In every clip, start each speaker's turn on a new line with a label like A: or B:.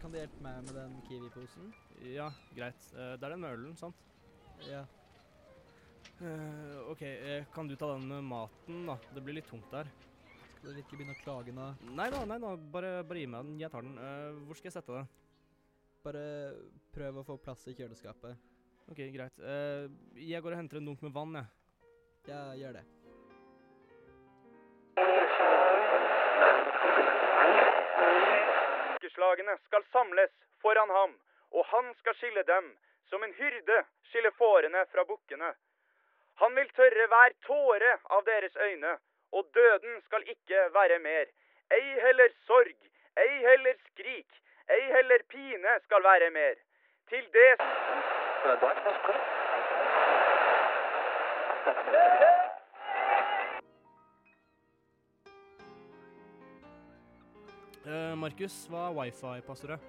A: kan du hjelpe meg med den Kiwi-posen?
B: Ja, greit. Eh, Det er den med ølen, sant?
A: Ja.
B: Eh, OK, eh, kan du ta den med maten, da? Det blir litt tungt der.
A: Skal du virkelig begynne å klage nå?
B: Nei da, nei da, bare, bare gi meg den. Jeg tar den. Eh, hvor skal jeg sette den?
A: Bare prøv å få plass i kjøleskapet.
B: OK, greit. Eh, jeg går og henter en dunk med vann, jeg.
A: Ja, gjør det.
C: Folkeslagene skal samles foran ham, og han skal skille dem, som en hyrde skiller fårene fra bukkene. Han vil tørre hver tåre av deres øyne, og døden skal ikke være mer. Ei heller sorg, ei heller skrik, ei heller pine skal være mer. Til det
B: Eh, Markus, hva er wifi-passordet?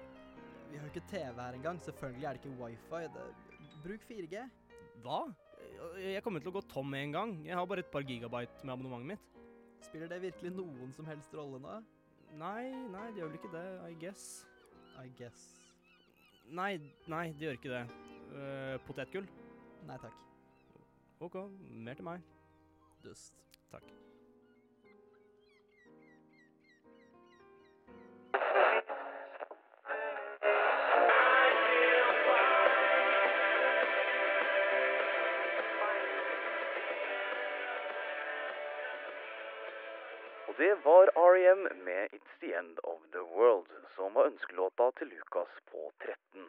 A: Vi har jo ikke TV her engang. Selvfølgelig er det ikke wifi. Det... Bruk 4G.
B: Hva? Eh, Jeg jeg kommer til å gå tom med en gang. Jeg har bare et par gigabyte med abonnementet mitt.
A: Spiller det virkelig noen som helst rolle nå?
B: Nei, nei, det gjør vel ikke det, I guess.
A: I guess.
B: Nei, nei, det gjør ikke det. Eh, potetgull?
A: Nei takk.
B: OK, mer til meg.
A: Dust.
B: Takk.
D: Og det var R.E.M. med It's The End of The World, som var ønskelåta til Lukas på 13.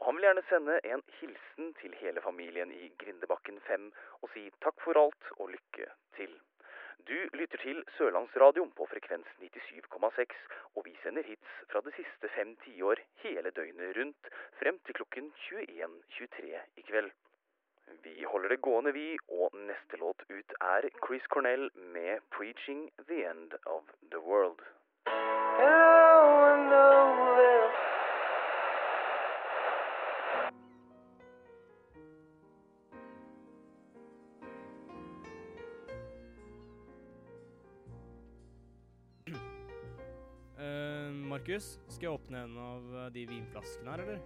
D: Og han vil gjerne sende en hilsen til hele familien i Grindebakken 5 og si takk for alt og lykke til. Du lytter til Sørlandsradioen på frekvens 97,6, og vi sender hits fra de siste fem tiår hele døgnet rundt, frem til klokken 21.23 i kveld. Vi holder det gående, vi, og neste låt ut er Chris Cornell med 'Preaching the End of the World'.
B: Eh, Markus, skal jeg åpne en av eh, de vinflaskene her, eller?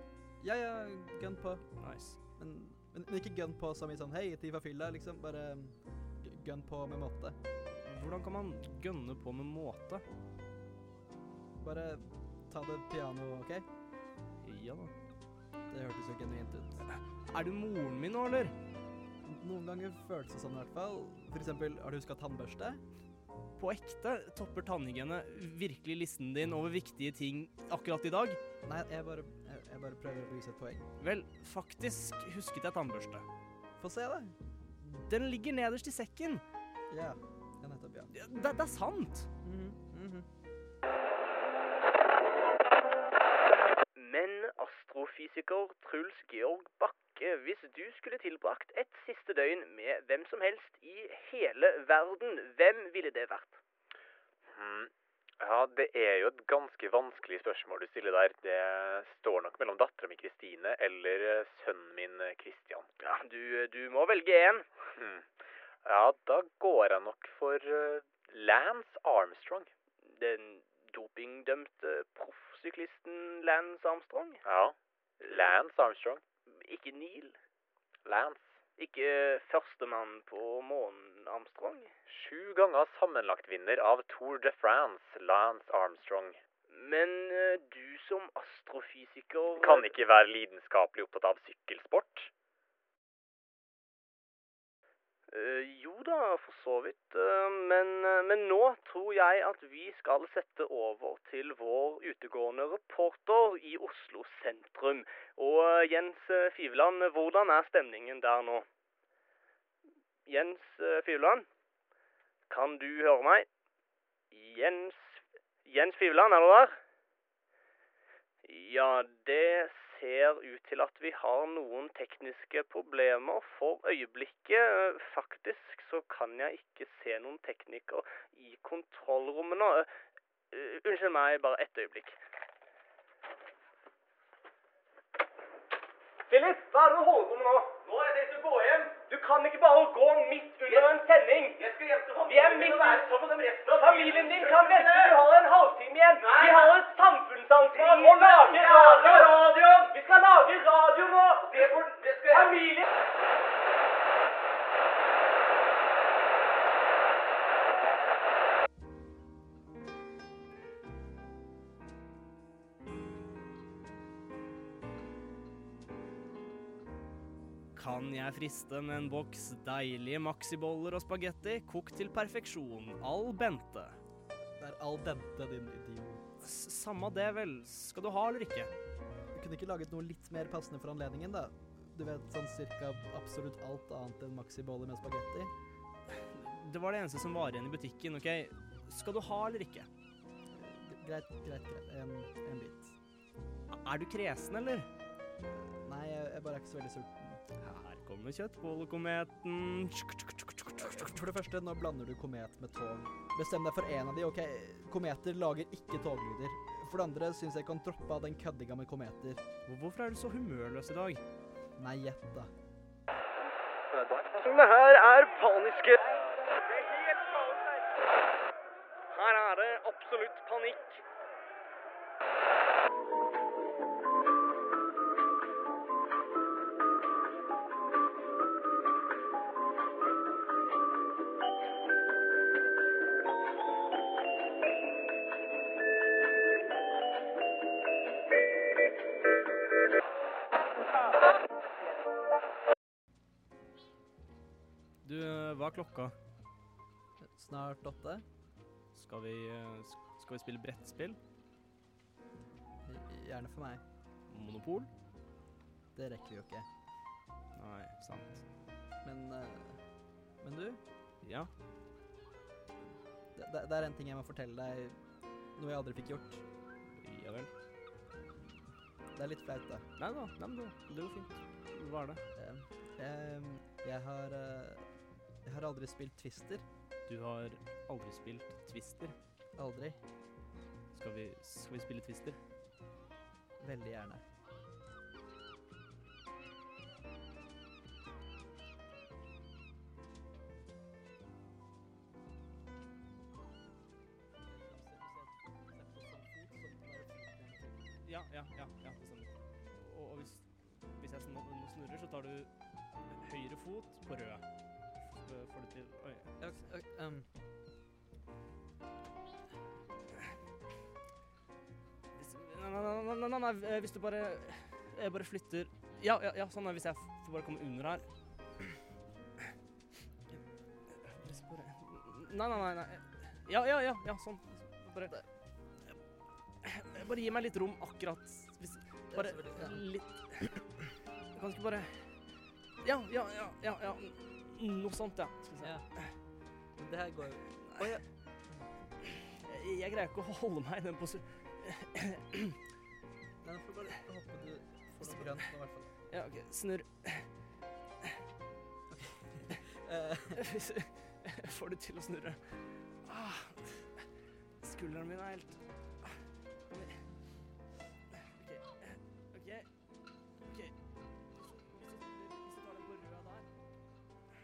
A: Ja, ja, gun på.
B: Nice.
A: Men, men, men ikke gun på som i sånn hei, ti fra fylla, liksom. Bare um, gun på med måte.
B: Hvordan kan man gønne på med måte?
A: Bare ta det piano, OK?
B: Ja da.
A: Det hørtes jo genuint ut.
B: Er du moren min nå, eller?
A: Noen ganger føles det sånn i hvert fall. For eksempel, har du huska tannbørste?
B: På ekte topper tannhygiene virkelig listen din over viktige ting akkurat i dag?
A: Nei, jeg bare, jeg, jeg bare prøver å bevise et poeng.
B: Vel, faktisk husket jeg tannbørste.
A: Få se, da.
B: Den ligger nederst i sekken.
A: Ja. ja nettopp, ja.
B: Det, det er sant!
A: Mhm, mhm.
C: Men astrofysiker Truls Georg Bakke, hvis du skulle tilbrakt et siste døgn med hvem som helst i hele verden, hvem ville det vært?
E: Hmm. Ja, det er jo et ganske vanskelig spørsmål du stiller der. Det står nok mellom dattera mi Kristine eller eh, sønnen min eh, Christian. eh,
C: Ja, du, du må velge én.
E: Hmm. Ja, da går jeg nok for eh, Lance Armstrong.
C: Den dopingdømte proffsyklisten Lance Armstrong?
E: Ja. Lance Armstrong.
C: Ikke Neil?
E: Lance.
C: Ikke eh, førstemann på månen Armstrong?
E: Sju ganger sammenlagtvinner av Tour de France, Lance Armstrong.
C: Men eh, du som astrofysiker
E: Kan ikke være lidenskapelig opptatt av sykkelsport.
C: Eh, jo da, for så vidt. eh, men, eh, men nå tror jeg at vi skal sette over til vår utegående reporter i Oslo sentrum. Og eh, Jens eh, Fiveland, hvordan er stemningen der nå? Jens eh, Fiveland? Kan du høre meg? Jens Jens Fiveland, er du der? Ja, det ser ut til at vi har noen tekniske problemer for øyeblikket. Eh, Faktisk så kan jeg ikke se noen tekniker i kontrollrommet nå. Eh, eh, Unnskyld meg, bare ett øyeblikk. Philip, hva er det du holder på med nå? Nå er jeg tenkt å gå hjem. Du kan ikke bare gå midt under en sending. Jeg skal hjem til familien. Vi er midt være sammen med resten av familien din. Kan vente, du har en halvtime igjen. Vi har et samfunnsansvar å lage
B: kan jeg friste med en boks deilige maxiboller og spagetti kokt til perfeksjon al bente.
A: Det er al dente, din idiot.
B: S Samma det, vel. Skal du ha eller ikke?
A: Du kunne ikke laget noe litt mer passende for anledningen, da? Du vet sånn cirka absolutt alt annet enn maxiboller med spagetti?
B: Det var det eneste som var igjen i butikken, OK? Skal du ha eller ikke?
A: G- Greit, greit, greit. En, en bit.
B: Er du kresen, eller?
A: Nei, jeg, jeg bare er ikke så veldig sulten.
B: Her kommer kjøttbollekometen.
A: For det første, nå blander du komet med tog. Bestem deg for én av de, OK? Kometer lager ikke toglyder. For det andre syns jeg kan droppe av den køddinga med kometer.
B: Hvorfor er du så humørløs i dag?
A: Nei, gjett, da.
D: Personene her er paniske.
C: Her er det absolutt panikk.
B: Du, hva er klokka?
A: Snart åtte?
B: Skal vi, eh, sk- skal vi spille brettspill?
A: Gjerne for meg.
B: Monopol?
A: Det rekker vi jo ikke.
B: Nei, sant.
A: Men eh, Men du?
B: Ja.
A: Det, det, det er en ting jeg må fortelle deg. Noe jeg aldri fikk gjort.
B: Ja vel.
A: Det er litt flaut, da.
B: Nei da, nei, men det, det går fint. Hva er det?
A: Eh, em, jeg har eh, Jeg har aldri spilt Twister.
B: Du har aldri spilt Twister.
A: Aldri.
B: Skal vi, skal vi spille Twister?
A: Veldig gjerne.
B: Ja, ja, ja. ja det stemmer. Og, og hvis, hvis jeg snu- nå snurrer, så tar du høyre fot på rød. F- øh, Får du til Oi.
A: Ok, ok, em,
B: Hvis, nei, nei, nei, nei, nei, nei, eh, hvis du bare Jeg bare flytter Ja, ja, ja sånn er det, hvis jeg f- får bare komme under her. Bare s- bare- Nei, nei, nei. nei. Ja, ja, ja, ja sånn. Bare Bare gi meg litt rom akkurat hvis,
A: det er
B: Bare
A: selvfølgelig- ja.
B: litt Kan du ikke bare Ja, ja, ja, ja, ja. Noe sånt, ja. Skal vi se.
A: Ja. Men det her går jo
B: Jeg, jeg greier ikke å holde meg i den posisjonen.
A: Nei, nå får du bare håpe du får noe grønt nå, i hvert fall.
B: Ja, OK, snurr.
A: Eh,
B: Hvis jeg får det til å snurre. Ah, skulderen min er helt Kom igjen. OK. OK. ok. Hvis du- hvis du tar den på rød der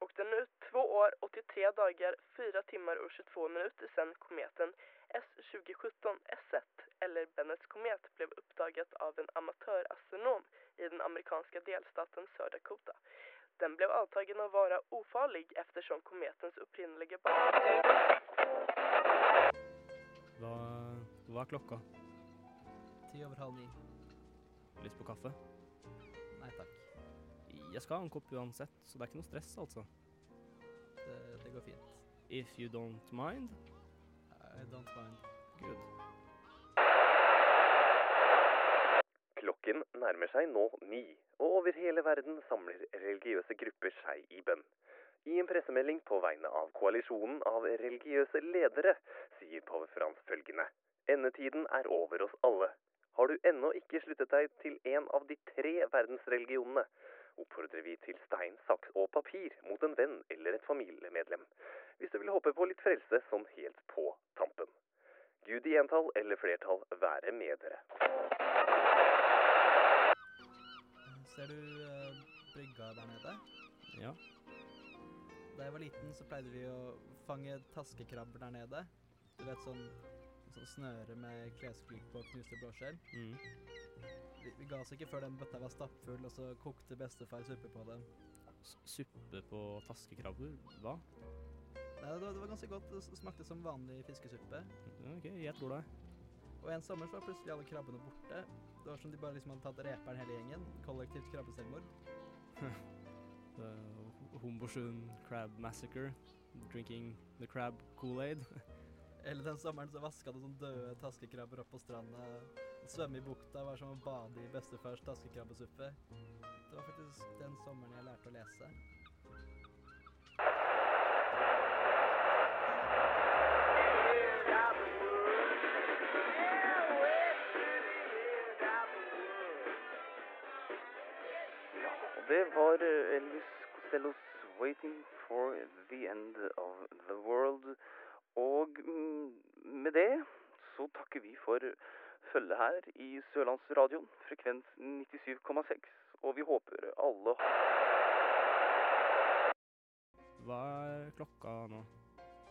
F: och den är 2 år, 83 dagar, 4 timmar och 22 minuter sedan kometen S2017 S1, eller Bennets komet, blev uppdagat av en amatörastronom i den amerikanska delstaten Södra Dakota. Den blev antagen att vara ofarlig eftersom kometens upprinneliga bana...
B: Hva, hva er klokka?
A: Ti over halv ni.
B: Lyst på kaffe?
A: Nei takk.
B: Jeg skal ha en kopp uansett, så det er ikke noe stress, altså.
A: Det, det går fint.
B: If you don't mind.
A: I don't mind.
B: Good.
D: Klokken nærmer seg nå ni, og over hele verden samler religiøse grupper seg i bønn. I en pressemelding på vegne av koalisjonen av religiøse ledere sier pave Frans følgende Endetiden er over oss alle. Har du ennå ikke sluttet deg til en av de tre verdensreligionene, oppfordrer vi til stein, saks og papir mot en venn eller et familiemedlem, hvis du vil håpe på litt frelse sånn helt på tampen. Gud i entall eller flertall være med dere.
A: Ser du eh, brygga der nede?
B: Ja.
A: Da jeg var liten, så pleide vi å fange taskekrabber der nede. Du vet sånn, sånn snøre med klesklyp på knuste blåskjell.
B: Mm.
A: Vi, vi ga oss ikke før den bøtta var stappfull, og så kokte bestefar suppe på dem.
B: S suppe på taskekrabber? Hva?
A: Nei, det, var- det var ganske godt. Det s- smakte som vanlig fiskesuppe.
B: Ja, OK, jeg tror deg.
A: Og en sommer så var plutselig alle krabbene borte. Det var som de bare liksom hadde tatt reperen hele gjengen. Kollektivt krabbeselvmord.
B: The Homborsund Crab Massacre. Drinking the crab Kool-Aid.
A: Eller den sommeren så vaska det sånn døde taskekrabber opp på stranda. Svømme i bukta var som å bade i bestefars taskekrabbesuppe. Det var faktisk den sommeren jeg lærte å lese.
D: Ja, og det var eh, Elvis Costellos 'Waiting for the End of the World'. Og mm, med det så takker vi for følget her i Sørlandsradioen, frekvens 97,6. Og vi håper alle
B: Hva er klokka nå?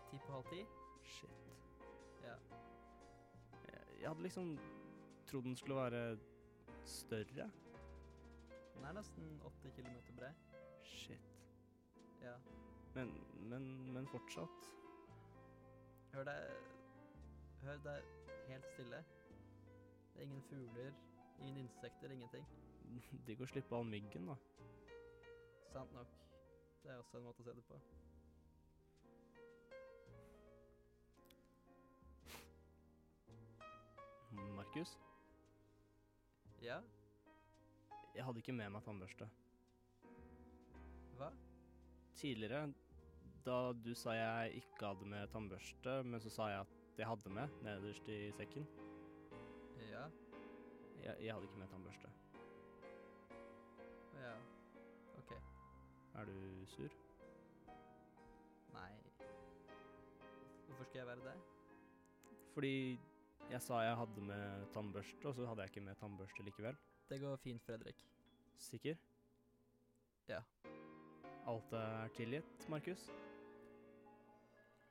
A: Ti på halv ti.
B: Shit.
A: Ja.
B: Jeg, jeg hadde liksom trodd den skulle være større.
A: Den er nesten åtte kilometer bred.
B: Shit.
A: Ja.
B: Men, men, men fortsatt.
A: Hør deg Hør deg helt stille. Det er ingen fugler, ingen insekter, ingenting.
B: Digg å slippe all myggen, da.
A: Sant nok. Det er også en måte å se det på.
B: Markus,
A: Ja,
B: jeg hadde ikke med meg tannbørste.
A: hva?
B: Tidligere, da du sa jeg ikke hadde med tannbørste, men så sa jeg at jeg hadde med nederst i sekken.
A: Ja,
B: Jeg, jeg hadde ikke med tannbørste.
A: ja. Ok.
B: Er du sur?
A: Nei. Hvorfor skal jeg være det?
B: Fordi jeg sa jeg hadde med tannbørste, og så hadde jeg ikke med tannbørste likevel.
A: Det går fint, Fredrik.
B: Sikker?
A: Ja.
B: Alt er tilgitt, Markus?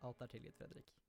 A: Alt er tilgitt, Fredrik.